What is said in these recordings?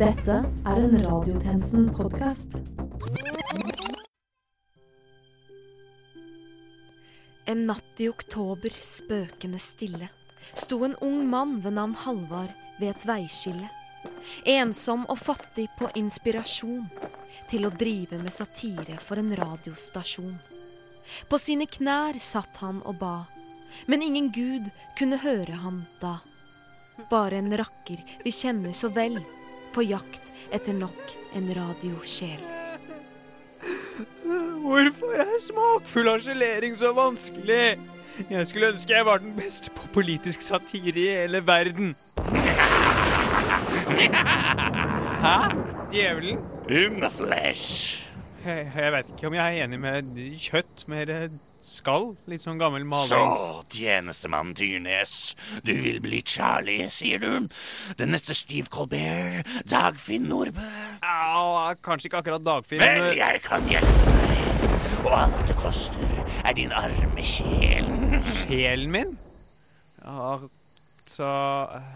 Dette er en Radiotjenesten-podkast. En natt i oktober, spøkende stille, sto en ung mann ved navn Halvard ved et veiskille. Ensom og fattig på inspirasjon til å drive med satire for en radiostasjon. På sine knær satt han og ba, men ingen gud kunne høre ham da. Bare en rakker vi kjenner så vel, på jakt etter nok en radiosjel. Øh, Hvorfor er smakfull harselering så vanskelig? Jeg skulle ønske jeg var den beste på politisk satire i hele verden. Hæ? Djevelen? In the flesh. Jeg, jeg veit ikke om jeg er enig med kjøtt, mer eh, skall. Litt sånn gammel malings. Så, tjenestemann Dyrnes, du vil bli Charlie, sier du? Den neste Steve Colbert, Dagfinn Nordbø. Au, kanskje ikke akkurat Dagfinn. Vel, men- jeg kan hjelpe deg. Og alt det koster, er din arme sjel. Sjelen min? Altså eh.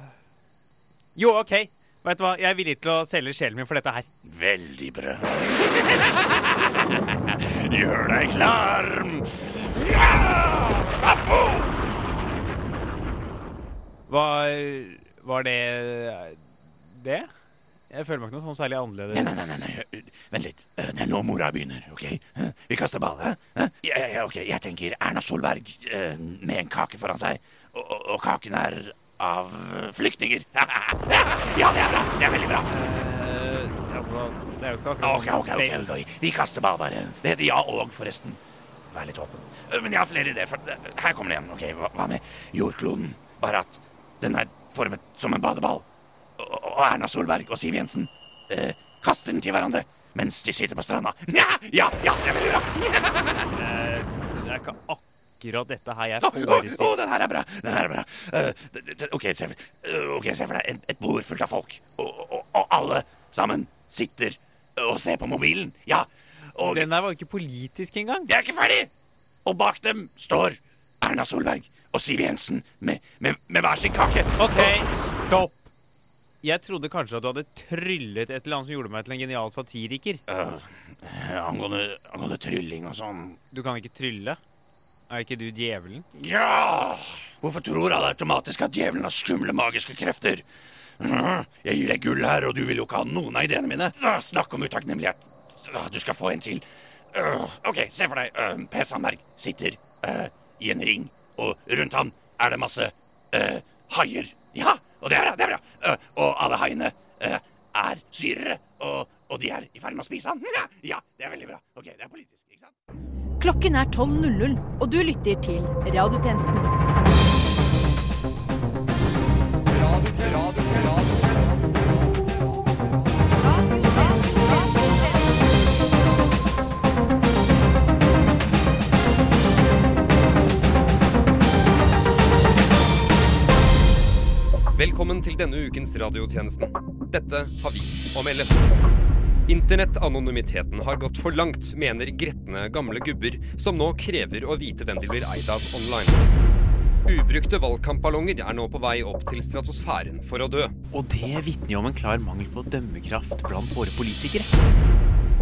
Jo, OK. Vet du hva, jeg er villig til å selge sjelen min for dette her. Veldig bra. Gjør deg klar. Ja! Abo! Var, var det det? Jeg føler meg ikke noe sånn særlig Nei, nei, annerledes. nei, nei, nei. Vent litt. Eh, Det er nå mora begynner, OK? Eh, Vi kaster ball, hæ? Eh, Ja, ja, ja, ok, jeg tenker Erna Solberg eh, med en kake foran seg. Og, og, og kaken er av eh, flyktninger. Ja, det er bra. Det er veldig bra. Eh, altså, det er jo ikke akkurat Ok, ok, ok, ok. Vi kaster ball, bare. Det heter ja og, forresten. Vær litt åpen. Eh, Men jeg har flere ideer. For eh, her kommer det igjen. Ok, hva, hva med jordkloden? Bare at den er formet som en badeball. Og, og Erna Solberg og Siv Jensen eh, kaster den til hverandre mens de sitter på stranda. Ja, ja, ja, det er veldig bra. Eh, Det er ikke akkurat dette her jeg Å, å, å, forestiller den her er bra. Den her er bra. Eh, d- d- ok, se, eh, ok, se for deg et, et bord fullt av folk. Og, og, og alle sammen sitter og ser på mobilen. Ja. Og Den der var jo ikke politisk engang. Jeg er ikke ferdig! Og bak dem står Erna Solberg og Siv Jensen med, med, med hver sin kake. OK, stopp. Jeg trodde kanskje at du hadde tryllet et eller annet som gjorde meg til en genial satiriker. Eh, Angående, angående trylling og sånn. Du kan ikke trylle? Er ikke du djevelen? Ja! Hvorfor tror alle automatisk at djevelen har skumle magiske krefter? Mhm. Jeg gir deg gull her, og du vil jo ikke ha noen av ideene mine. Ah, Snakk om utakknemlighet. Ah, Du skal få en til. Øh, ok, se for deg. øh, per Sandberg sitter øh, i en ring, og rundt ham er det masse øh, haier. Ja, og det er bra. det er bra. Øh, og alle haiene øh, er syrere, og, og de er i ferd med å spise han. Ja, Ja, det er veldig bra. Ok, det er politisk, ikke sant? Klokken er 12.00, og du lytter til Radiotjenesten. Velkommen til denne ukens radiotjenesten. Dette har vi å melde. Internettanonymiteten har gått for langt, mener gretne gamle gubber, som nå krever å vite hvem de blir eid av online. Ubrukte valgkampballonger er nå på vei opp til stratosfæren for å dø. Og det vitner jo om en klar mangel på dømmekraft blant våre politikere.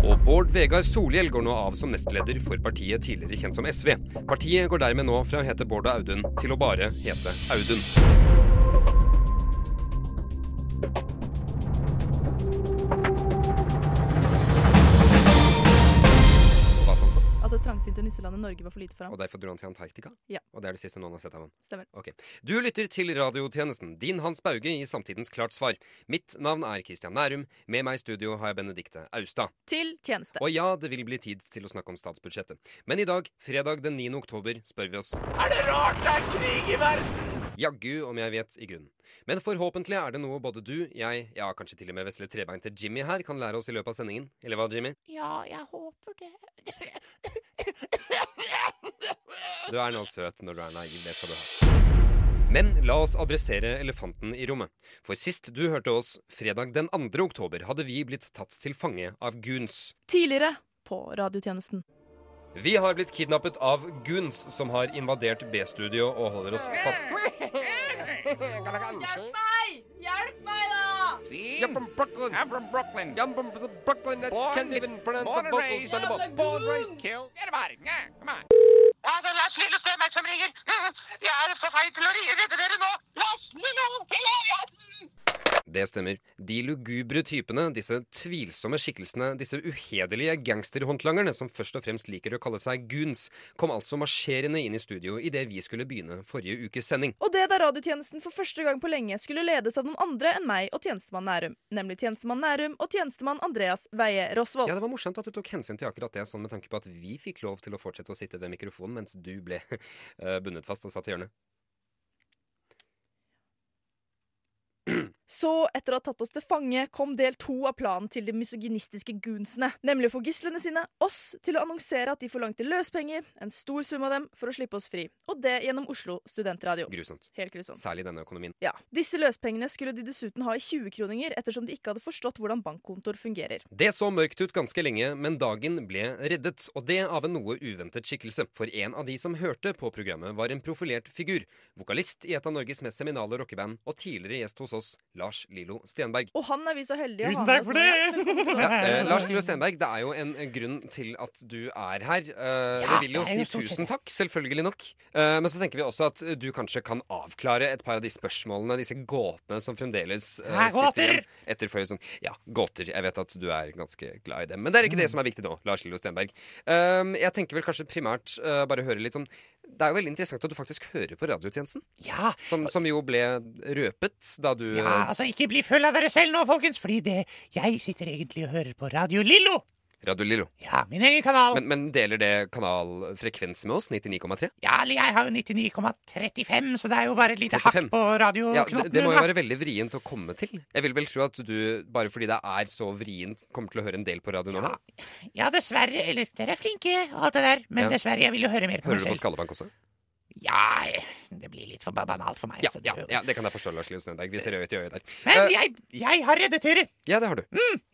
Og Bård Vegar Solhjell går nå av som nestleder for partiet tidligere kjent som SV. Partiet går dermed nå fra å hete Bård og Audun til å bare hete Audun. Hva sa han så? At det trangsynte nisselandet Norge var for lite for ham. Og derfor dro han til Antarktika? Ja. Og det er det siste noen har sett av han. Stemmer. Ok. Du lytter til radiotjenesten, din Hans Bauge i Samtidens klart svar. Mitt navn er Christian Nærum, med meg i studio har jeg Benedikte Austad. Til tjeneste. Og ja, det vil bli tid til å snakke om statsbudsjettet. Men i dag, fredag den 9. oktober, spør vi oss Er det rart det er krig i verden? jaggu om jeg vet i grunnen. Men forhåpentlig er det noe både du, jeg, ja, kanskje til og med vesle trebeinte Jimmy her kan lære oss i løpet av sendingen. Eller hva, Jimmy? Ja, jeg håper det. Du er nå søt når du er naiv, det skal du ha. Men la oss adressere elefanten i rommet. For sist du hørte oss, fredag den 2. oktober, hadde vi blitt tatt til fange av Guns. Tidligere på radiotjenesten. Vi har blitt kidnappet av Guns, som har invadert B-studio og holder oss fast. Hjelp meg! Hjelp meg, da! Si You're from Brooklyn. I'm from Brooklyn. I'm from Brooklyn. I Born, can't even it's- pronounce the born and vocals. raised. son of a- Born raised. Kill. Get about it. Yeah, come on. Ja, det er Lars Lillo Stømer som ringer. Jeg er for feil til å ri- redde dere nå. Lars Lillo! Lillo! ja. Det stemmer. De lugubre typene, disse tvilsomme skikkelsene, disse uhederlige gangsterhåndlangerne som først og fremst liker å kalle seg goons, kom altså marsjerende inn i studio idet vi skulle begynne forrige ukes sending. Og det da radiotjenesten for første gang på lenge skulle ledes av noen andre enn meg og tjenestemann Nærum. Nemlig tjenestemann Nærum og tjenestemann Andreas Veie Ja, Rosvold. det var morsomt at du tok hensyn til akkurat det, sånn med tanke på at vi fikk lov til å fortsette å sitte ved mikrofonen mens du ble eh, bundet fast og satt i hjørnet. Så, etter å ha tatt oss til fange, kom del to av planen til de misogynistiske goonsene. Nemlig å få gislene sine, oss, til å annonsere at de forlangte løspenger, en stor sum av dem, for å slippe oss fri. Og det gjennom Oslo Studentradio. Grusomt. Helt grusomt. Særlig i denne økonomien. Ja. Disse løspengene skulle de dessuten ha i 20-kroninger, ettersom de ikke hadde forstått hvordan bankkontor fungerer. Det så mørkt ut ganske lenge, men dagen ble reddet, og det av en noe uventet skikkelse. For en av de som hørte på programmet, var en profilert figur. Vokalist i et av Norges mest seminale rockeband, og tidligere gjest hos oss, Lars Lillo Stenberg. Og han er vi så heldige Tusen å ha med takk oss for nå. det! Ja, velkommen til oss. Eh, Lars Lillo Stenberg, det er jo en, en grunn til at du er her. Eh, vi vil jo si tusen takk, selvfølgelig nok. Eh, men så tenker vi også at eh, du kanskje kan avklare et par av de spørsmålene, disse gåtene som fremdeles eh, Hæ, gåter? sitter igjen etter forrige sånn. Ja, gåter. Jeg vet at du er ganske glad i dem. Men det er ikke det som er viktig nå, Lars Lillo Stenberg. Eh, jeg tenker vel kanskje primært eh, bare høre litt om Det er jo veldig interessant at du faktisk hører på radiotjenesten, Ja, som, som jo ble røpet da du ja, eh, altså ikke bli full av dere selv nå, folkens, fordi det Jeg sitter egentlig og hører på Radio Lillo. Radio Lillo. Ja, min egen kanal. Men, men deler det kanalfrekvens med oss? 99,3? ja, eller jeg har jo 99,35, så det er jo bare et lite 35. hakk på Ja, det, radioknoppen. det må jo da. være veldig vrient å komme til. Jeg vil vel tro at du, bare fordi det er så vrient, kommer til å høre en del på radio nå. Ja, ja, dessverre. Eller dere er flinke og alt det der, men Ja. dessverre, jeg vil jo høre mer på meg Hører du på selv. Skallebank også? Ja, eh, det blir litt for ba- banalt for meg. Ja, altså, det ja, er jo- ja, det kan jeg forstå, Lars Leo Stenberg. Vi ser øye til øye der. Men Eh, jeg, jeg har reddet dere. ja, det har du.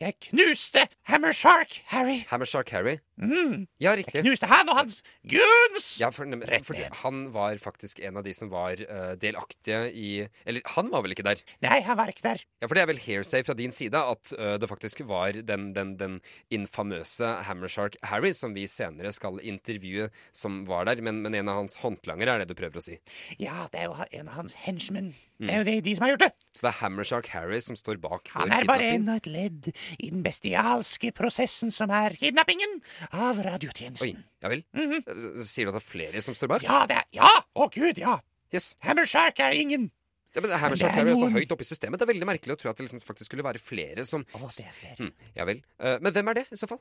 Jeg knuste Hammer Shark, Harry. Hammershark Harry. Mm. Ja, Jeg riktig. knuste han og hans guns. Ja, for, nem- Rett fordi ned. han var faktisk en av de som var eh, delaktige i Eller han var vel ikke der? Nei, han var ikke der. Ja, For det er vel hearsay fra din side at eh, det faktisk var den, den, den infamøse Hammershark Harry som vi senere skal intervjue, som var der. Men, men en av hans håndlangere er det du prøver å si. Mm. Ja, det er jo en av hans henchmen. Det er jo de, de som har gjort det. Så det er Hammershark Harry som står bak Han vår er bare kidnapping? enda et ledd i den bestialske prosessen som er kidnappingen av Oi, radiotjenesten. ja vel? Mhm. Eh, Sier du at det er flere som står bak? Ja, det er Ja! Å, gud, ja! Yes. Hammershark er ingen. Ja, men Hammershark Men Harry det er er så noen- høyt oppe i systemet. Det er veldig merkelig å tro at det liksom faktisk skulle være flere som Å, det er flere. hm, Ja vel. Eh, men hvem er det, i så fall?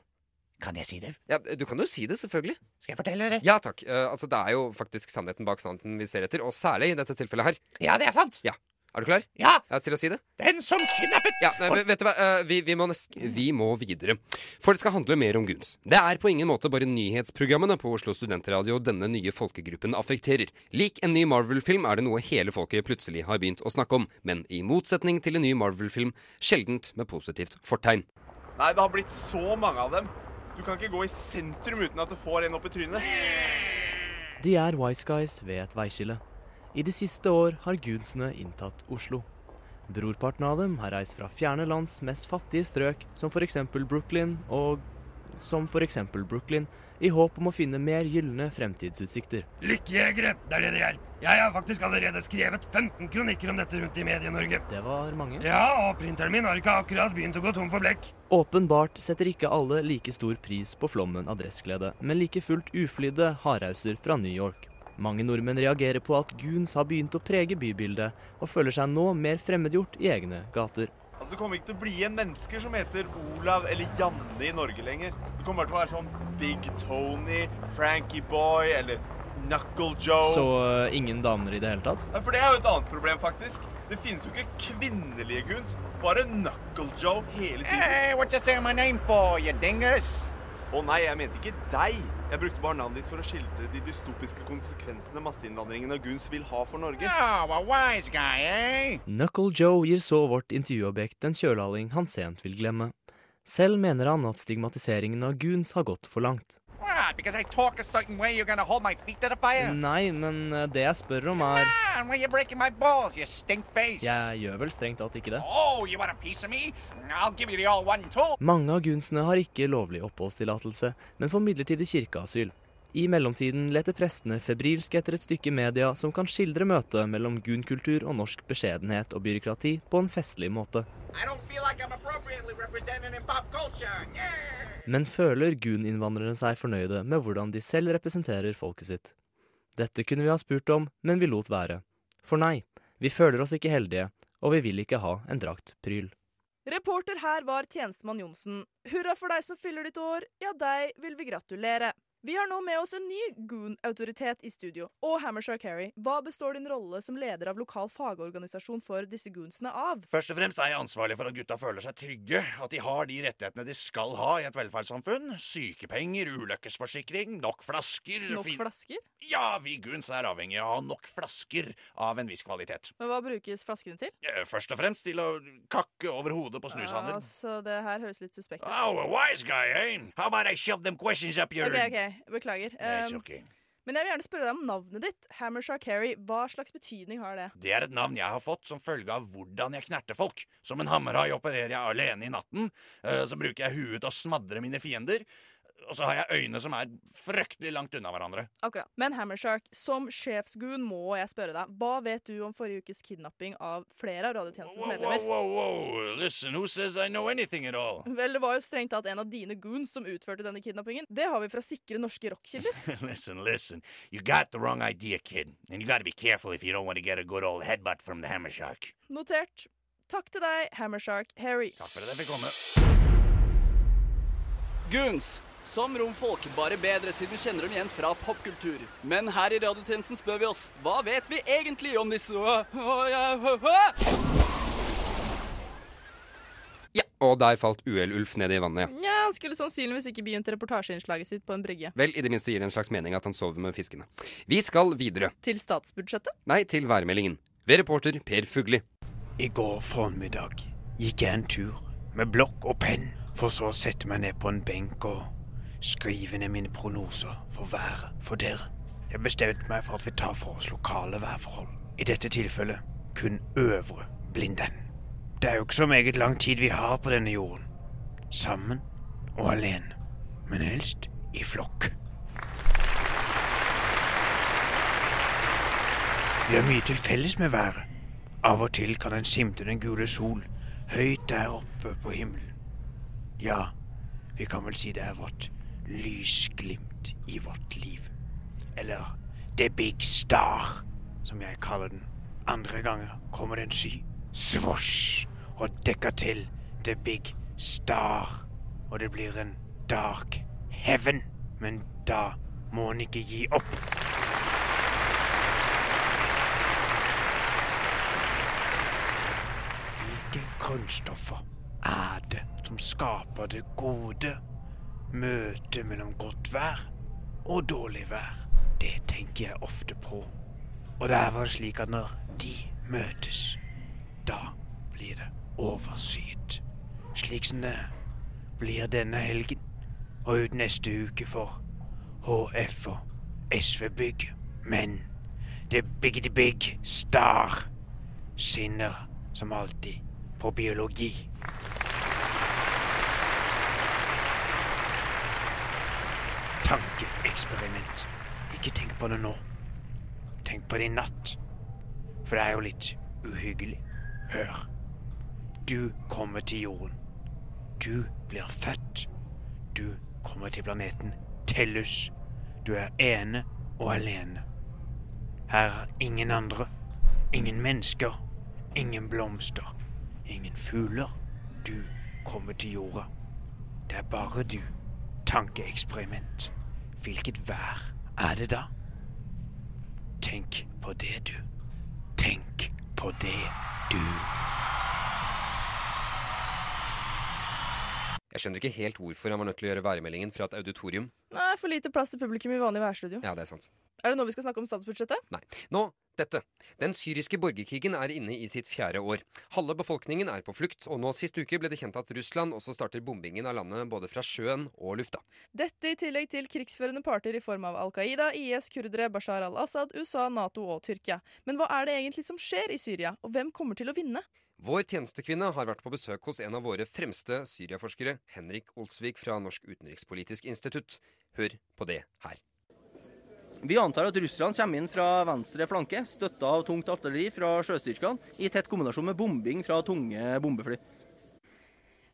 Kan jeg si det? Ja, eh, du kan jo si det, selvfølgelig. Skal jeg fortelle dere? Ja takk. Eh, altså, det er jo faktisk sannheten bak sannheten vi ser etter, og særlig i dette tilfellet her. Ja, det er sant. Er du klar Ja, ja, til å si det? den som kidnappet Ja, nei, vet du hva, eh, vi, vi, må nest, vi må videre. For det skal handle mer om Guns. Det er på ingen måte bare nyhetsprogrammene på Oslo Studentradio denne nye folkegruppen affekterer. Lik en ny Marvel-film er det noe hele folket plutselig har begynt å snakke om, men i motsetning til en ny Marvel-film sjeldent med positivt fortegn. Nei, det har blitt så mange av dem. Du kan ikke gå i sentrum uten at du får en opp i trynet. De er wise guys ved et veiskille. I de siste år har gudsene inntatt Oslo. Brorparten av dem har reist fra fjerne lands mest fattige strøk, som f.eks. Brooklyn, og som for eksempel Brooklyn, i håp om å finne mer gylne fremtidsutsikter. Lykkejegere, det er det de er. Jeg har faktisk allerede skrevet 15 kronikker om dette rundt i Medie-Norge. Det var mange. Ja, og printeren min har ikke akkurat begynt å gå tom for blekk. Åpenbart setter ikke alle like stor pris på flommen av dressglede, men like fullt uflidde hardhauser fra New York. Mange nordmenn reagerer på at goons har begynt å prege bybildet, og føler seg nå mer fremmedgjort i egne gater. Altså, Du kommer ikke til å bli igjen mennesker som heter Olav eller Janne i Norge lenger. Du kommer bare til å være sånn Big Tony, Frankie Boy eller Knuckle Joe. Så eh, ingen damer i det hele tatt? Nei, for det er jo et annet problem, faktisk. Det finnes jo ikke kvinnelige guns. Bare Knuckle Joe hele tiden. Hey, what you say my name for, you dingers? Å nei, jeg mente ikke deg. Jeg brukte bare navnet ditt for å skildre de dystopiske konsekvensene masseinnvandringen av guns vil ha for Norge. Oh, a wise guy, eh? Knuckle Joe gir så vårt intervjuobjekt en kjølhaling han sent vil glemme. Selv mener han at stigmatiseringen av goons har gått for langt. Wow, God, Ah, because I talk a certain way, you're gonna hold my feet to the fire? Mm. Nei, men eh, det jeg spør om, er Man, when you're breaking my balls, you stink face. Jeg gjør vel strengt tatt ikke det. Oh, you want a piece of me? I'll give you the all one too. Mange av gunsene har ikke lovlig oppholdstillatelse, men får midlertidig kirkeasyl. I mellomtiden leter prestene febrilsk etter et stykke media som kan skildre møtet mellom gunkultur og norsk beskjedenhet og byråkrati på en festlig måte. I don't feel like I'm appropriately represented in pop culture. Men føler guninnvandrerne seg fornøyde med hvordan de selv representerer folket sitt? Dette kunne vi ha spurt om, men vi lot være. For nei, vi føler oss ikke heldige, og vi vil ikke ha en draktpryl. Reporter her var tjenestemann Johnsen. Hurra for deg som fyller ditt år. Ja, deg vil vi gratulere. Vi har nå med oss en ny goon-autoritet i studio. Og Hammershaw Carey, hva består din rolle som leder av lokal fagorganisasjon for disse goonsene av? Først og fremst er jeg ansvarlig for at gutta føler seg trygge, at de har de rettighetene de skal ha i et velferdssamfunn. Sykepenger, ulykkesforsikring, nok flasker Nok fin- flasker? Ja, vi guns er avhengig av å ha nok flasker av en viss kvalitet. Men hva brukes flaskene til? Eh, Først og fremst til å kakke over hodet på snushandler. Altså, det her høres litt suspekt ut. Oh, a wise guy, eh? How about I shove them questions up your OK, OK, beklager. That's Um, okay. Men jeg vil gjerne spørre deg om navnet ditt. Hammershaw Carey, hva slags betydning har det? Det er et navn jeg har fått som følge av hvordan jeg knerter folk. Som en hammerhai opererer jeg alene i natten. eh, Så bruker jeg huet til å smadre mine fiender. Og så har jeg øyne som er fryktelig langt unna hverandre. Akkurat. Men Hammershark, som sjefsgud må jeg spørre deg, hva vet du om forrige ukes kidnapping av flere av radiotjenestens Wow, medlemmer? wow, wow. Listen, who says I know anything at all? Vel, det var jo strengt tatt en av dine goons som utførte denne kidnappingen. Det har vi fra sikre norske rockkilder. listen, listen. You got the wrong idea, kid. And you gotta be careful if you don't want to get a good old headbutt from the hammer shark. Notert. Takk til deg, Hammershark Harry. Takk for at jeg fikk komme. Goons. Som romfolk, bare bedre siden vi kjenner dem igjen fra popkultur. Men her i radiotjenesten spør vi oss, hva vet vi egentlig om disse Åh, åh, ja, åh, åh? Og der falt uhell-Ulf ned i vannet, ja. Nja, han skulle sannsynligvis ikke begynt reportasjeinnslaget sitt på en brygge. Vel, i det minste gir det en slags mening at han sover med fiskene. Vi skal videre. Til statsbudsjettet? Nei, til værmeldingen. Ved reporter Per Fugli. I går formiddag gikk jeg en tur med blokk og penn, for så å sette meg ned på en benk og skrive ned mine prognoser for været for dere. Jeg bestemte meg for at vi tar for oss lokale værforhold. I dette tilfellet kun øvre Blindern. Det er jo ikke så meget lang tid vi har på denne jorden. Sammen og alene. Men helst i flokk. Vi har mye til felles med været. Av og til kan en skimte den gule sol høyt der oppe på himmelen. Ja, vi kan vel si det er vårt lysglimt i vårt liv. Eller The Big Star, som jeg kaller den. Andre ganger kommer det en sky, svosj, og dekker til The Big Star. Og det blir en dark heaven. Men da må en ikke gi opp. Hvilke grunnstoffer er det som skaper det gode møtet mellom godt vær og dårlig vær? Det tenker jeg ofte på. Og der var det slik at når de møtes, da blir det overskyet. Slik som det blir denne helgen og ut neste uke for HF og SV Bygg. Men The Big Big Star skinner som alltid på biologi. Tankeeksperiment. Ikke tenk på det nå. Tenk på det i natt. For det er jo litt uhyggelig. Hør. Du kommer til jorden. Du blir født. Du kommer til planeten Tellus. Du er ene og alene. Her er ingen andre. Ingen mennesker. Ingen blomster. Ingen fugler. Du kommer til jorda. Det er bare du. Tankeeksperiment. Hvilket vær er det da? Tenk på det, du. Tenk på det, du. Jeg skjønner ikke helt hvorfor han var nødt til å gjøre værmeldingen fra et auditorium. Nei, for lite plass til publikum i vanlig værstudio. Ja, det er sant. Er det nå vi skal snakke om statsbudsjettet? Nei. Nå dette. Den syriske borgerkrigen er inne i sitt fjerde år. Halve befolkningen er på flukt, og nå sist uke ble det kjent at Russland også starter bombingen av landet både fra sjøen og lufta. Dette i tillegg til krigsførende parter i form av Al Qaida, IS, kurdere, Bashar al-Assad, USA, Nato og Tyrkia. Men hva er det egentlig som skjer i Syria, og hvem kommer til å vinne? Vår tjenestekvinne har vært på besøk hos en av våre fremste Syria-forskere, Henrik Olsvik fra Norsk utenrikspolitisk institutt. Hør på det her. Vi antar at Russland kommer inn fra venstre flanke, støtta av tungt artilleri fra sjøstyrkene, i tett kombinasjon med bombing fra tunge bombefly.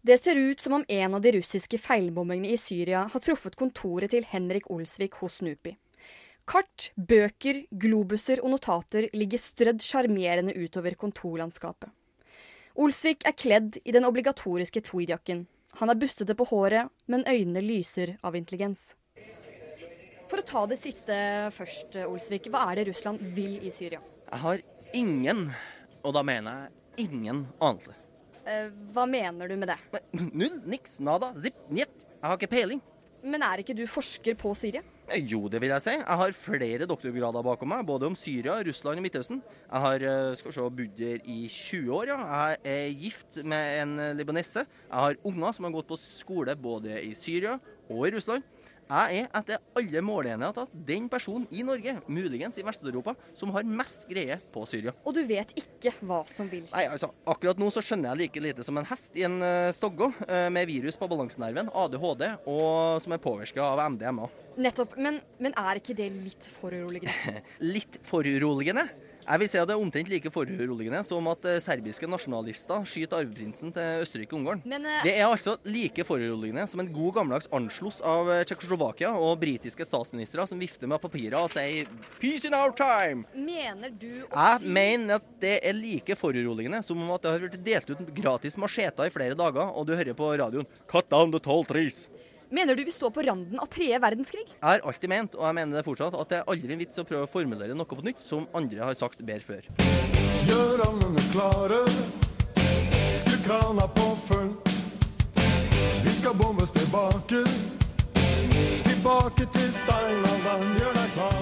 Det ser ut som om en av de russiske feilbombingene i Syria har truffet kontoret til Henrik Olsvik hos NUPI. Kart, bøker, globuser og notater ligger strødd sjarmerende utover kontorlandskapet. Olsvik er kledd i den obligatoriske tweedjakken. Han er bustete på håret, men øynene lyser av intelligens. For å ta det siste først, Olsvik. Hva er det Russland vil i Syria? Jeg har ingen, og da mener jeg ingen, anelse. Eh, Hva mener du med det? Null, niks, nada, zipp, njet. Jeg har ikke peiling. Men er ikke du forsker på Syria? Eh, Jo, det vil jeg si. Jeg har flere doktorgrader bakom meg, både om Syria, Russland og Midtøsten. Jeg har eh, skal vi se, bodd her i 20 år, ja. Jeg er gift med en eh, libanese. Jeg har unger som har gått på skole både i Syria og i Russland. Jeg er etter alle måleenheter den personen i Norge, muligens i Vest-Europa, som har mest greie på Syria. Og du vet ikke hva som vil Nei, skje? altså, Akkurat nå så skjønner jeg like lite som en hest i en eh, stoggå, eh, med virus på balansenerven, ADHD, og som er påvirka av MDMA. Nettopp. Men, men er ikke det litt foruroligende? Litt foruroligende. Jeg vil si at det er omtrent like foruroligende som at eh, serbiske nasjonalister skyter arveprinsen til Østerrike-Ungarn. Men, eh, Det er altså like foruroligende som en god gammeldags anslåss av eh, Tsjekkoslovakia og britiske statsministre som vifter med papirer og sier 'peace in our time'. Mener du å Jeg si mener at det er like foruroligende som om at det har vært delt ut gratis macheter i flere dager, og du hører på radioen 'Cut down the tall trees'. Mener du vi står på randen av tredje verdenskrig? Jeg har alltid ment, og jeg mener det fortsatt, at det er aldri en vits å prøve å formulere noe på nytt som andre har sagt bedre før. Gjør ovnene klare. Skru krana på full. Vi skal bombes tilbake. Tilbake til steinalderen. Gjør deg klar.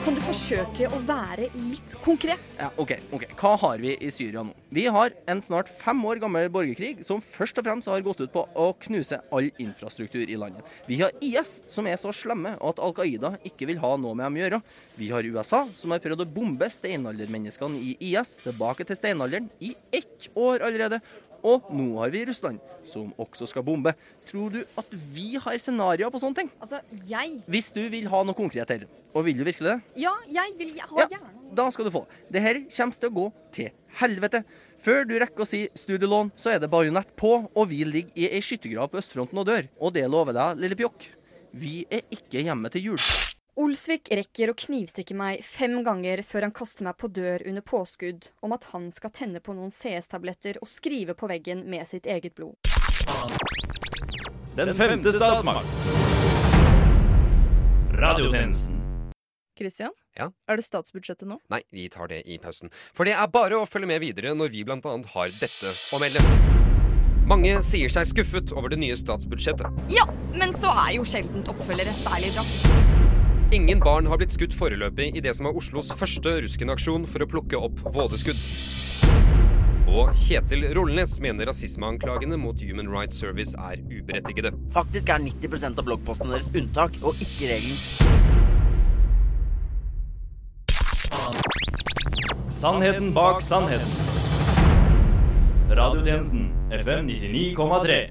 Kan du forsøke å være litt konkret? Ja, ok, ok. Hva har vi i Syria nå? Vi har en snart fem år gammel borgerkrig som først og fremst har gått ut på å knuse all infrastruktur i landet. Vi har IS, som er så slemme at Al Qaida ikke vil ha noe med dem å gjøre. Vi har USA, som har prøvd å bombe steinaldermenneskene i IS tilbake til steinalderen i ett år allerede. Og nå har vi Russland, som også skal bombe. Tror du at vi har scenarioer på sånne ting? Altså, jeg Hvis du vil ha noe konkret her, og vil du virkelig det? Ja, jeg vil jeg har Ja. gjerne Da skal du få. Det her kommer til å gå til helvete. Før du rekker å si studielån, så er det bajonett på, og vi ligger i ei skyttergrav på østfronten og dør. Og det lover deg, lille pjokk. Vi er ikke hjemme til jul. Olsvik rekker å knivstikke meg fem ganger før han kaster meg på dør under påskudd om at han skal tenne på noen CS-tabletter og skrive på veggen med sitt eget blod. Den femte statsmakt. Radiotjenesten. Christian, Ja? er det statsbudsjettet nå? Nei, vi tar det i pausen. For det er bare å følge med videre når vi blant annet har dette å melde. Mange sier seg skuffet over det nye statsbudsjettet. Ja, men så er jo sjeldent oppfølgere særlig bra. Ingen barn har blitt skutt foreløpig i det som er Oslos første ruskenaksjon for å plukke opp vådeskudd. Og Kjetil Rollnes mener rasismeanklagene mot Human Rights Service er uberettigede. Faktisk er 90 av bloggpostene deres unntak, og ikke regelen. Sannheten bak sannheten. Radiotjenesten FM 99,3.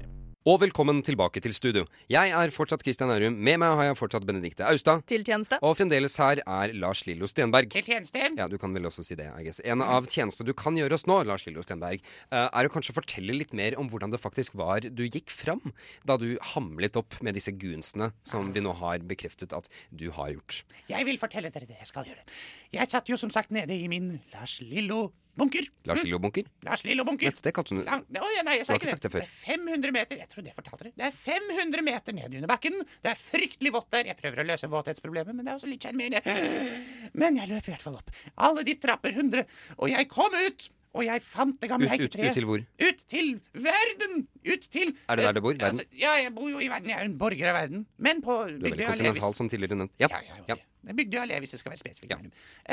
Og velkommen tilbake til studio. Jeg er fortsatt Christian Aurum. Med meg har jeg fortsatt Benedicte Austad. Til tjeneste. Og fremdeles her er Lars Lillo Stenberg. Til tjeneste. Ja, du kan vel også si det, I guess. En av tjenestene du kan gjøre oss nå, Lars Lillo Stenberg, eh, er å kanskje fortelle litt mer om hvordan det faktisk var du gikk fram da du hamlet opp med disse goonsene som vi nå har bekreftet at du har gjort. Jeg vil fortelle dere det. Jeg skal gjøre det. Jeg satt jo som sagt nede i min Lars Lillo-bunker. Hm. Lars Lillo Bunker? Lars Lillo-bunker. Det kalte du Lang... Å, ja, nei, jeg Du sa har ikke ikke det. sagt det før. Det er 500 meter. Jeg tror det fortalte dere. Det er 500 meter ned under bakken. Det er fryktelig vått der. Jeg prøver å løse våthetsproblemet, men det er også litt sjarmerende. Men jeg løp i hvert fall opp alle de trapper 100, og jeg kom ut. Og jeg fant det gamle Ut- ut- hekketreet. ut til hvor? Ut til verden! Ut til Er det der du bor? Verden? Altså, ja, jeg bor jo i verden. Jeg er en borger av verden. Men på Du er veldig Bygdøy Allé, kontinental, hvis, som tidligere nevnt. Ja. ja. Bygdøy Allé, hvis jeg skal være spesifikk.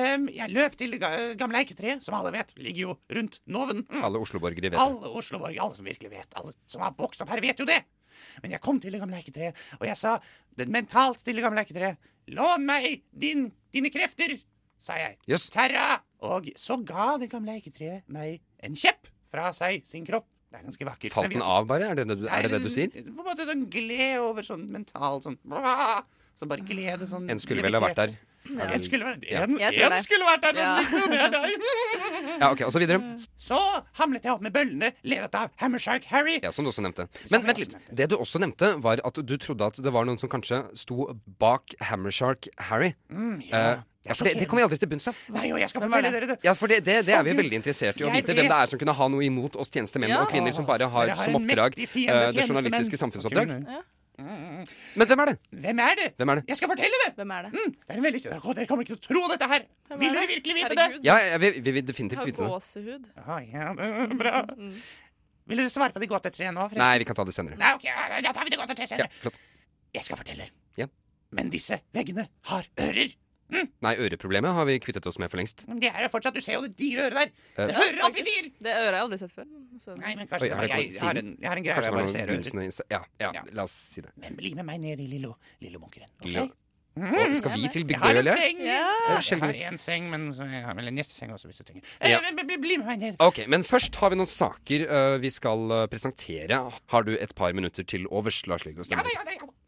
Ehm, jeg løp til det ga- gamle eiketreet, som alle vet ligger jo rundt Nåven. Mm. Alle Oslo-borgere vet det. Alle Oslo-borgere, alle som virkelig vet, alle som har vokst opp her, vet jo det. Men jeg kom til det gamle eiketreet, og jeg sa det mentalt til det gamle eiketreet Lån meg din, dine krefter, sa jeg. Jøss. Terra! Og så ga det gamle eiketreet meg en kjepp fra seg, sin kropp. Det er ganske vakkert. Falt men den vi- av, bare? Er det det du, er det, det du sier? På en måte sånn gled over sånn mental sånn bla, Som bare glede sånn En skulle vel ha vært der. Ja. Er En vel- skulle vært Ja. en, Jeg en skulle vært der, men Ja. liksom, det er deg. Ja, ok, og så videre. Så Mm. hamlet jeg opp med bøllene, ledet av Hammershark Harry. Ja, som du også nevnte. Men vent litt. Det du også nevnte, var at du trodde at det var noen som kanskje sto bak Hammershark Harry. Eh, Mm, ja. ja, for det, det kommer vi aldri til bunns av. Nei, og jeg skal Hvem var fortelle dere det. Ja, for det, det, det er vi Gud, veldig interessert i å jeg vite. Hvem det vet. er som kunne ha noe imot oss tjenestemenn Ja. og -kvinner som bare har, Dere har som en oppdrag mektig fiende, eh, det journalistiske tjenestemenn. samfunnsoppdrag. Ja. Mm, Men hvem er det? Hvem er det? Hvem er det? Jeg skal fortelle det! Hvem er det? Mm, det er en veldig... Å, Dere kommer ikke til å tro dette her! Hvem Vil er dere det? virkelig vite Herregud. Ja, jeg- vi vi vil Jeg definitivt har vite det. gåsehud. Mm. Ah, ja, øh, bra. Vil dere svare på de gåtetreet nå? forresten? Nei, vi kan ta det senere. Nei, ok, ja, da tar vi det gåtetreet Ja, senere. flott. Eh, Jeg skal fortelle. Ja. Men disse veggene har ører. Mm. Nei, øreproblemet har vi kvittet oss med for lengst. Men Det er jo fortsatt, Du ser jo det digre øret der. Eh. Det hører alt vi sier! Det øret har jeg aldri sett før. Så... Nei, men Oi, kanskje er det jeg, kommet jeg, har siden? en, jeg har en greie Kanskje det hvor jeg var bare noen ser ører. gunstige inse- Ja, ja, la oss si det. Men bli med meg ned i lillo, Lillomunkeren. ok? Lillo- Mm. Å, skal vi til Bygdøy, Jeg har eller? en seng! Ja. Jeg Sjelden. har en seng, men så- jeg har vel en gjesteseng også, hvis du trenger. Ja. Eh, men bli- Bli med meg ned. Ok, men først har vi noen saker eh, vi skal eh, presentere. Har du et par minutter til overs, Lars Lillo? Ja,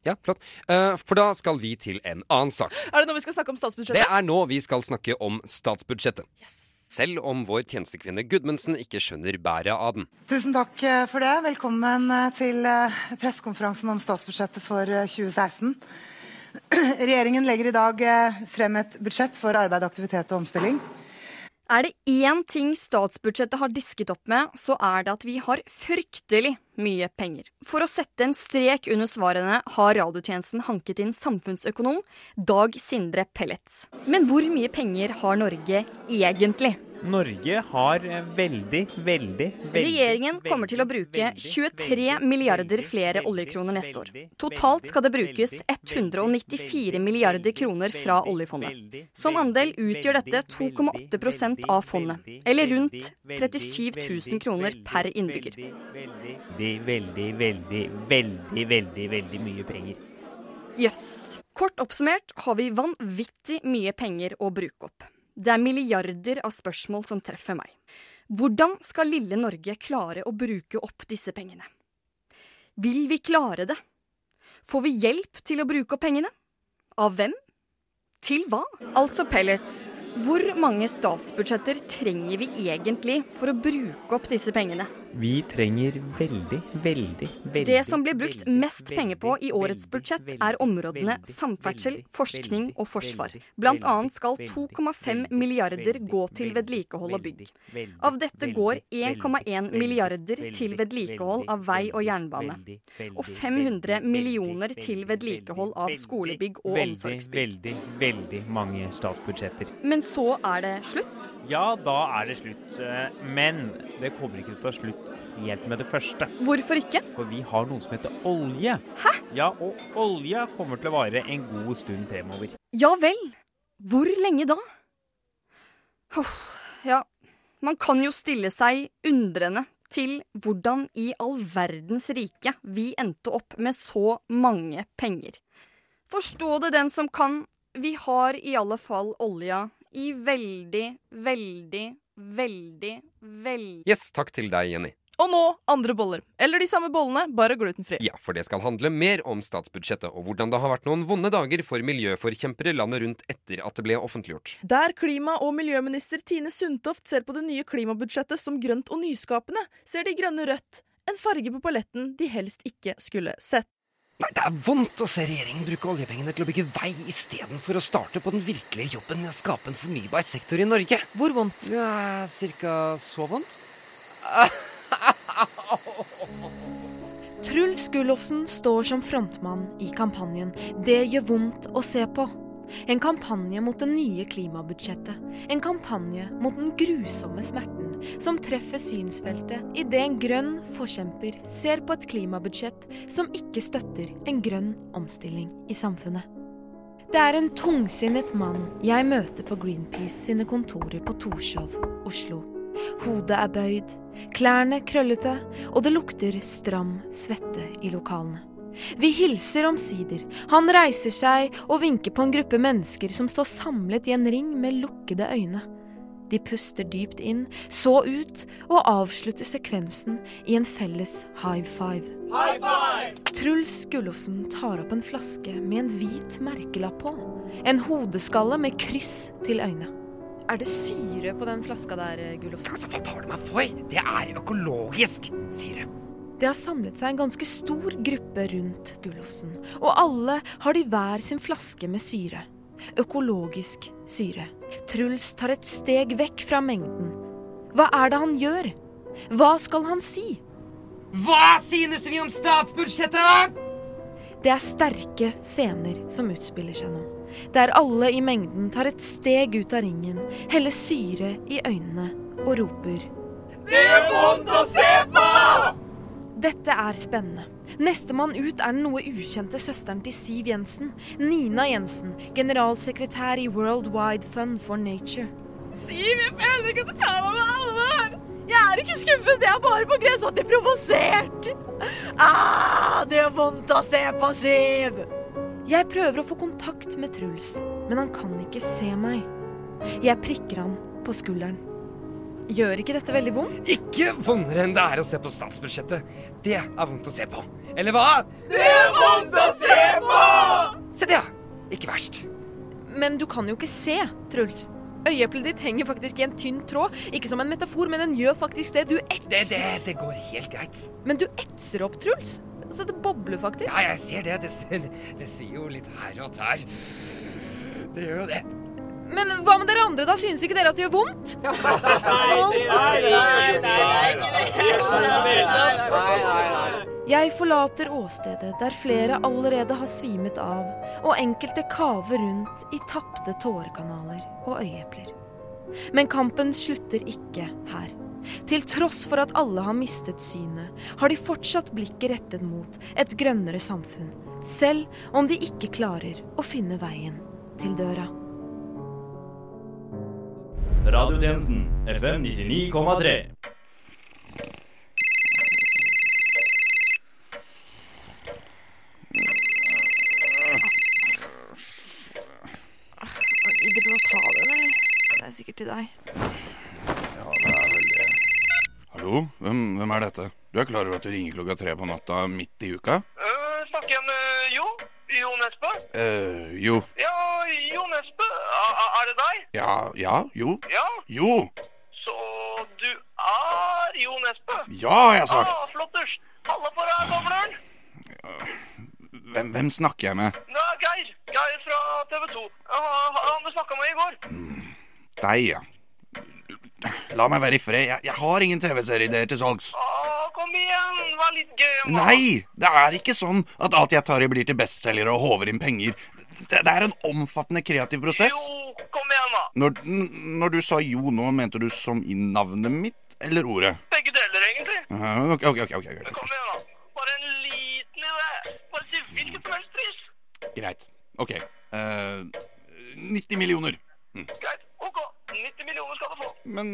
ja, flott. Eh, for da skal vi til en annen sak. Er det nå vi skal snakke om Det statsbudsjettet? er nå vi skal snakke om statsbudsjettet. Selv om vår tjenestekvinne Gudmundsen ikke skjønner bæret av den. Tusen takk eh, for det. Velkommen eh, til eh, pressekonferansen om statsbudsjettet for eh, 2016. Regjeringen legger i dag eh, frem et budsjett for arbeid, aktivitet og omstilling. Er det én ting statsbudsjettet har disket opp med, så er det at vi har fryktelig mye penger. For å sette en strek under svarene har radiotjenesten hanket inn samfunnsøkonom Dag Sindre Pellets. Men hvor mye penger har Norge egentlig? Norge har eh, veldig, veldig, veldig Regjeringen kommer til å bruke 23 milliarder flere oljekroner neste år. Totalt skal det brukes 194 milliarder kroner fra oljefondet. Som andel utgjør dette 2,8 av fondet, eller rundt 37 000 kroner per innbygger. Veldig, veldig, veldig, veldig, veldig, veldig mye penger. Jøss. Yes. Kort oppsummert har vi vanvittig mye penger å bruke opp. Det er milliarder av spørsmål som treffer meg. Hvordan skal lille Norge klare å bruke opp disse pengene? Vil vi klare det? Får vi hjelp til å bruke opp pengene? Av hvem? Til hva? Altså pellets. Hvor mange statsbudsjetter trenger vi egentlig for å bruke opp disse pengene? Vi trenger veldig, veldig, veldig Det som blir brukt mest penger på i årets budsjett, er områdene samferdsel, forskning og forsvar. Blant annet skal 2,5 milliarder gå til vedlikehold og bygg. Av dette går 1,1 milliarder til vedlikehold av vei og jernbane. Og 500 millioner til vedlikehold av skolebygg og Veldig, omsorgsbygg. veldig, veldig mange statsbudsjetter. Men så er det slutt. Ja, da er det slutt. eh, Men det kommer ikke til å ta slutt helt med det første. Hvorfor ikke? For vi har noe som heter olje. Hæ? Ja, og olja kommer til å vare en god stund fremover. Ja vel. Hvor lenge da? Huff, ja, man kan jo stille seg undrende til hvordan i all verdens rike vi endte opp med så mange penger. Forstå det den som kan, vi har i alle fall olja i veldig, veldig, veldig, veldig Yes, takk til deg, Jenny. Og nå andre boller. Eller de samme bollene, bare glutenfri. Ja, for det skal handle mer om statsbudsjettet og hvordan det har vært noen vonde dager for miljøforkjempere landet rundt etter at det ble offentliggjort. Der klima- og miljøminister Tine Sundtoft ser på det nye klimabudsjettet som grønt og nyskapende, ser de grønne rødt, en farge på paletten de helst ikke skulle sett. Nei, det er vondt å se regjeringen bruke oljepengene til å bygge vei istedenfor å starte på den virkelige jobben med å skape en fornybar sektor i Norge. Hvor vondt? Ja, cirka så vondt. Truls Gullofsen står som frontmann i kampanjen Det gjør vondt å se på. En kampanje mot det nye klimabudsjettet. En kampanje mot den grusomme smerten. som treffer synsfeltet idet en grønn forkjemper ser på et klimabudsjett som ikke støtter en grønn omstilling i samfunnet. Det er en tungsinnet mann jeg møter på Greenpeace sine kontorer på Torshov, Oslo. Hodet er bøyd, klærne krøllete, og det lukter stram svette i lokalene. Vi hilser omsider. Han reiser seg og vinker på en gruppe mennesker som står samlet i en ring med lukkede øyne. De puster dypt inn, så ut, og avslutter sekvensen i en felles high five. High five! Truls Gullofsen tar opp en flaske med en hvit merkelapp på. En hodeskalle med kryss til øynene. Er det syre på den flaska der, eh, Gullofsen? Hva tar du meg for? Det er økologisk syre. Det har samlet seg en ganske stor gruppe rundt Gullofsen, og alle har de hver sin flaske med syre. Økologisk syre. Truls tar et steg vekk fra mengden. Hva er det han gjør? Hva skal han si? Hva synes vi om statsbudsjettet? Det er sterke scener som utspiller seg nå. Der alle i mengden tar et steg ut av ringen, heller syre i øynene og roper Det gjør vondt å se på! Dette er spennende. Nestemann ut er den noe ukjente søsteren til Siv Jensen, Nina Jensen, generalsekretær i World Wide Fund for Nature. Siv, jeg føler ikke at du tar meg med alvor! Jeg er ikke skuffet, jeg er bare på grensa til provosert! Ah, det gjør vondt å se på, Siv! Jeg prøver å få kontakt med Truls, men han kan ikke se meg. Jeg prikker han på skulderen. Gjør ikke dette veldig vondt? Ikke vondere enn det er å se på statsbudsjettet. Det er vondt å se på. Eller hva? Det gjør vondt å se på! Se det, ja. Ikke verst. Men du kan jo ikke se, Truls. Øyeeplet ditt henger faktisk i en tynn tråd. Ikke som en metafor, men den gjør faktisk det. Du etser. Det, det, det går helt greit. Men du etser opp, Truls. Så det bobler faktisk. Ja, jeg ser det. Det, ser- det svir jo litt her og der. Det gjør jo det. Men hva med dere andre, da? Synes ikke dere at det gjør vondt? Jeg forlater åstedet der flere allerede har svimet av, og enkelte kaver rundt i tapte tårekanaler og øyeepler. Men kampen slutter ikke her. Til tross for at alle har mistet synet, har de fortsatt blikket rettet mot et grønnere samfunn, selv om de ikke klarer å finne veien til døra. Radiotjenesten FM 99,3. Gidder du å ta den, eller? Det er sikkert til deg. Hallo, hvem, hvem er dette? Du er klar over at du ringer klokka tre på natta midt i uka? Øh, snakker jeg med Jo? Jo Nesbø? eh, jo. Ja, Jo Nesbø, er, er det deg? Ja, ja, jo. Ja, Jo! så du er Jo Nesbø? Ja, har jeg sagt. Ah, flotters. Halla på deg, gamleren. Hvem, hvem snakker jeg med? Det er Geir. Geir fra TV 2. han du snakka med i går. Mm, Deg, ja. La meg være i fred. Jeg, jeg har ingen TV-serieideer til salgs. Ah, kom igjen, vær litt gøy. mann. Nei! Det er ikke sånn at alt jeg tar i, blir til bestselgere og håver inn penger. Det, det er en omfattende kreativ prosess. Jo, kom igjen, da. Når, n- når du sa jo nå, mente du som i navnet mitt eller ordet? Begge deler, egentlig. Ah, Ok, ok, ok. ok, ok. Kom igjen, da. Bare en liten idé. Bare si hvilket som helst pris. Greit. Ok. Eh, 90 millioner. Hm. Greit, ok. 90 millioner skal du få. Men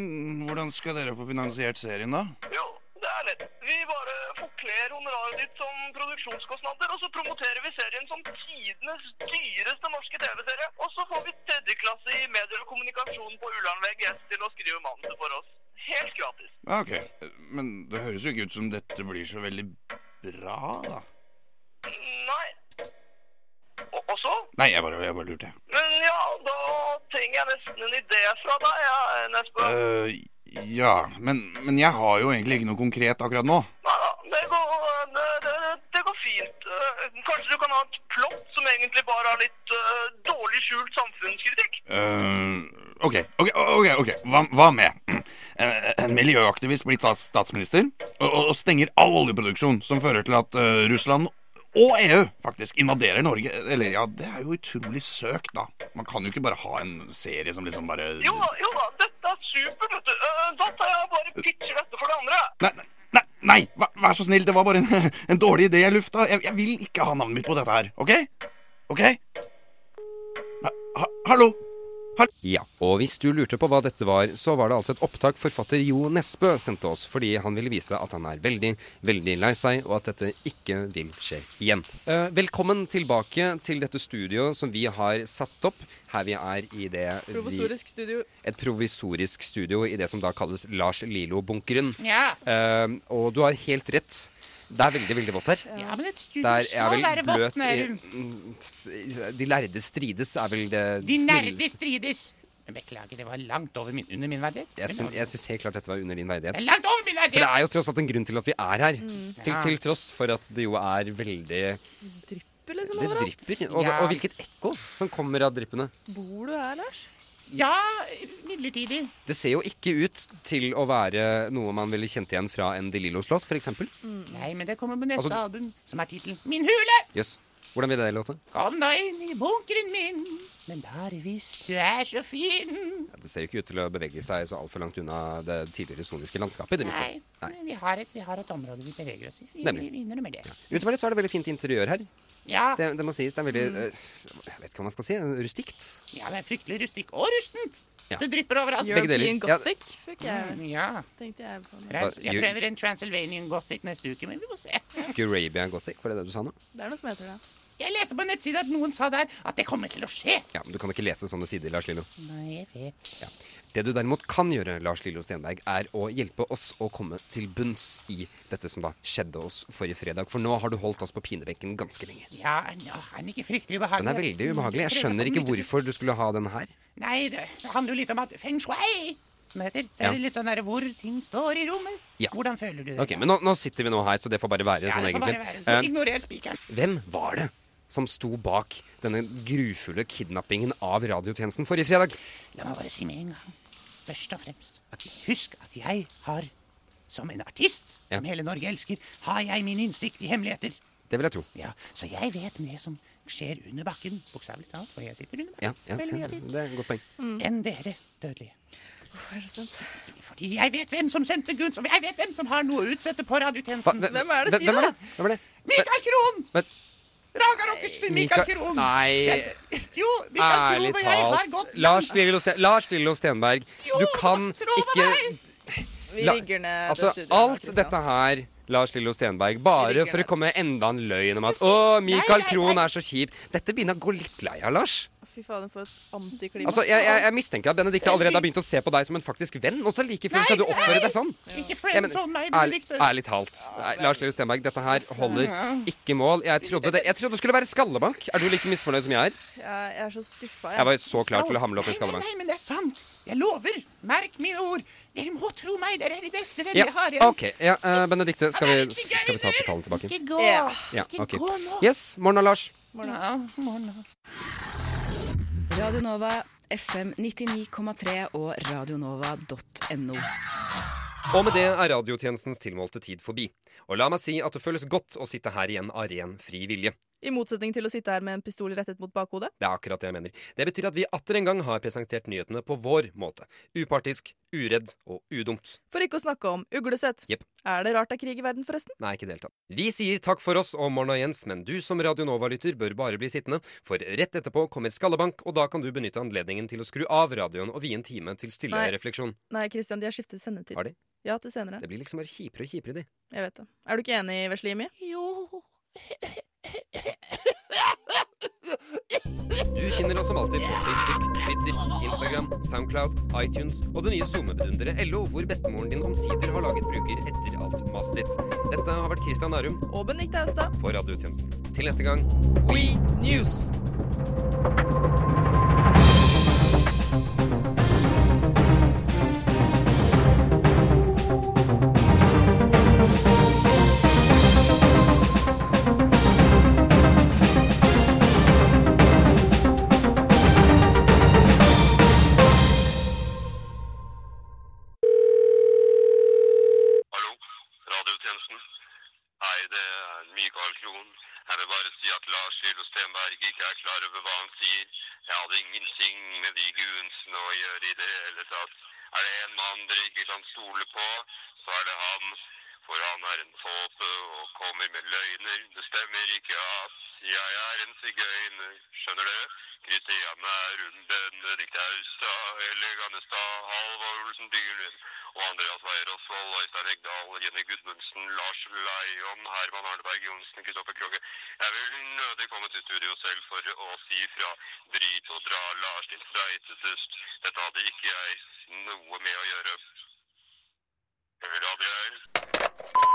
hvordan skal dere få finansiert serien, da? Jo, det er lett. Vi bare forkler honoraret ditt som produksjonskostnader, og så promoterer vi serien som tidenes dyreste norske TV-serie. Og så får vi tredjeklasse i medier og kommunikasjon på Ullern VGS til å skrive manuset for oss. Helt gratis. Ah, Ok, Men det høres jo ikke ut som dette blir så veldig bra, da. Nei. Og, og så? Nei, jeg bare, jeg bare lurte. Men ja, da trenger jeg nesten en idé fra deg, ja, Nesbø. Eh, ja, men, men jeg har jo egentlig ikke noe konkret akkurat nå. Nei da, det går, det, det, det går fint. Eh, Kanskje du kan ha et plott som egentlig bare har litt eh, dårlig skjult samfunnskritikk? Eh, ok, ok, ok, ok. Hva, hva med Eh, en miljøaktivist blir stats- statsminister og, og, og stenger all oljeproduksjon som fører til at eh, Russland og EU faktisk invaderer Norge. Eller ja, det er jo utrolig søkt, da. Man kan jo ikke bare ha en serie som liksom bare Jo, jo da, dette er supert, vet du. Eh, Da tar jeg bare pitcher dette for det andre. Nei, nei, nei, nei vær, vær så snill, det var bare en, en dårlig idé jeg lufta. Jeg, jeg vil ikke ha navnet mitt på dette her, OK? OK? Ha, ha, hallo? Ja, og hvis du lurte på hva dette var, så var det altså et opptak forfatter Jo Nesbø sendte oss, fordi han ville vise at han er veldig, veldig lei seg, og at dette ikke vil skje igjen. Eh, velkommen tilbake til dette studioet som vi har satt opp, her vi er i det vi- Provisorisk studio. et provisorisk studio i det som da kalles Lars Lilo-bunkeren. Ja. Eh, og du har helt rett. Det er veldig, veldig vått her. Ja, men et studio Der er skal vel være vått, bløt i- Nærum. Mm, s- De lærde strides er vel det De snilleste- nerde strides. Men Beklager, det var langt over min, under min verdighet. Jeg, syn, jeg syns helt klart dette var under din verdighet. Det er langt over min verdighet! For det er jo tross alt en grunn til at vi er her. Mm. Til, Ja. til tross for at det jo er veldig Drypper liksom Det overalt. drypper. Og, og hvilket ekko som kommer av dryppene. Bor du her, Lars? Ja, midlertidig. Det ser jo ikke ut til å være noe man ville kjent igjen fra en De Lillo-slott, f.eks. Mm. Nei, men det kommer på neste Altså- album, som er tittelen Min hule! Jøss. Hvordan vil det låte? Kom da inn i bunkeren min, men bare hvis du er så fin. Ja, Det ser jo ikke ut til å bevege seg så altfor langt unna det tidligere soniske landskapet. i Det minste. Nei, Nei. men vi har, et, vi har et område vi beveger oss i. Vi, Nemlig. vi innrømmer det. Utover det så er det veldig fint interiør her. Ja. Det, det må sies. Det er veldig Mm. eh, Jeg vet ikke hva man skal si. Rustikt. Ja, det er fryktelig rustikk og rustent. Ja. Det drypper overalt. Begge deler. European Ja. gothic fikk jeg. Mm, ja. Tenkte jeg på. Trans- Jeg Hva- prøver en Transylvanian Gothic neste uke, men vi får se. Gurabian Gothic, var det det du sa nå? Det er noe som heter det. Jeg leste på nettsida at noen sa der at det kommer til å skje. Ja, men Du kan ikke lese sånne sider, Lars Lillo. Nei, jeg vet. Det du derimot kan gjøre, Lars Lillo Stenberg, er å hjelpe oss å komme til bunns i dette som da skjedde oss forrige fredag. For nå har du holdt oss på pinebenken ganske lenge. Ja, nå er den ikke fryktelig ubehagelig. Den er veldig ubehagelig. Jeg skjønner ikke hvorfor du skulle ha den her. Nei, det det handler jo litt om at feng shui, som det heter. Så Ja. er det litt sånn der hvor ting står i rommet. Ja. Hvordan føler du det? Ok, Men nå, nå sitter vi nå her, så det får bare være Ja, sånn, det egentlig. får bare være. Eh, Så ignorer spikeren. hvem var det som sto bak denne grufulle kidnappingen av radiotjenesten forrige fredag? La meg bare si med en gang, først og fremst, at husk at jeg har, som en artist som hele Norge elsker, har jeg min innsikt i hemmeligheter. Det vil jeg tro. Ja, så jeg vet det som skjer under bakken, bokstavelig talt, for jeg sitter under Ja, bakken. ja, veldig mye ja, av tiden. det er et godt poeng. Enn dere dødelige. Fordi jeg vet hvem som sendte Guns, og jeg vet hvem som har noe å utsette på radiotjenesten. Hva- hvem- hvem- hvem er det? Hvem er det? Mikael Krohn! Men- Raga Rockers Mikael Krohn! Nei Jo, Mikael Krohn Ærlig og jeg har talt. gått Lars Lillo Sten- Lars Lillo Stenberg, du kan ikke Vi La- rigger ned Altså, det studioet. alt dette her, Lars Lillo Stenberg, bare for å komme med enda en løgn om at Å, Michael Krohn er så kjip. Dette begynner å gå litt lei av, Lars. Fy faen, for et antiklimax. Altså, jeg, jeg, jeg mistenker at Benedicte allerede har begynt å se på deg som en faktisk venn, og så like fullt skal du oppføre deg sånn. Ikke Jeg mener, friendzone meg, ærlig, Benedicte. ærlig talt. Nei, Lars Lillo Stenberg, dette her holder ikke mål. Jeg trodde det, jeg trodde det skulle være skallebank. Er du like misfornøyd som jeg er? Jeg, jeg er så skuffa. Jeg var så klar til å hamle opp en skallebank. Nei, men det er sant. Jeg lover. Merk mine ord. Dere må tro meg. Dere er de beste venner Ja, jeg har. OK. Ja, eh, Benedicte, skal vi, skal vi ta pokalen tilbake? Ikke gå. Ja, Ikke ok. gå nå. Yes, morna, Lars. Ja, morgen. Radio Nova, FM 99,3 og radionova.no. Og med det er radiotjenestens tilmålte tid forbi. Og la meg si at det føles godt å sitte her igjen av ren fri vilje. I motsetning til å sitte her med en pistol rettet mot bakhodet. Det er akkurat det jeg mener. Det betyr at vi atter en gang har presentert nyhetene på vår måte. Upartisk, uredd og udumt. For ikke å snakke om uglesett. Jepp. Er det rart det er krig i verden, forresten? Nei, ikke i det hele tatt. Vi sier takk for oss og morna, Jens, men du som Radio Nova-lytter bør bare bli sittende, for rett etterpå kommer Skallebank, og da kan du benytte anledningen til å skru av radioen og vie en time til stille Nei. refleksjon. Nei, Christian, de har skiftet sendetid. Har de? Ja, til senere. Det blir liksom bare kjipere og kjipere, de. Jeg vet det. Er du ikke enig, Veslimi? Jo. Du finner oss som alltid på Facebook, Twitter, Instagram, Soundcloud, iTunes og det nye SoMe-bedunderet LO, hvor bestemoren din omsider har laget bruker etter alt maset ditt. Dette har vært Christian Nærum og Benedicte Austad for Radiotjenesten. Til neste gang We News! Radiotjenesten. Hei, det er Mikael Krohn. Jeg vil bare si at Lars Hylo Stenberg ikke er klar over hva han sier. Jeg hadde ingenting med de gunsene å gjøre i det hele tatt. Er det en mann dere ikke kan stole på, så er det han. For han er en tåpe og kommer med løgner. Det stemmer ikke at jeg er en sigøyner, skjønner du? Kristiane er hun, Benedikt Austad, Ellie Gannestad, Halvor Olsen Dyhren og Andreas Weier Osvold, Øystein Egdal, Jenny Gudmundsen, Lars Leion, Herman Arneberg Johnsen, Kristoffer Krogge. Jeg vil nødig komme til studio selv for å si fra. Drit og dra Lars til streitetust. Dette hadde ikke jeg noe med å gjøre. Radioer.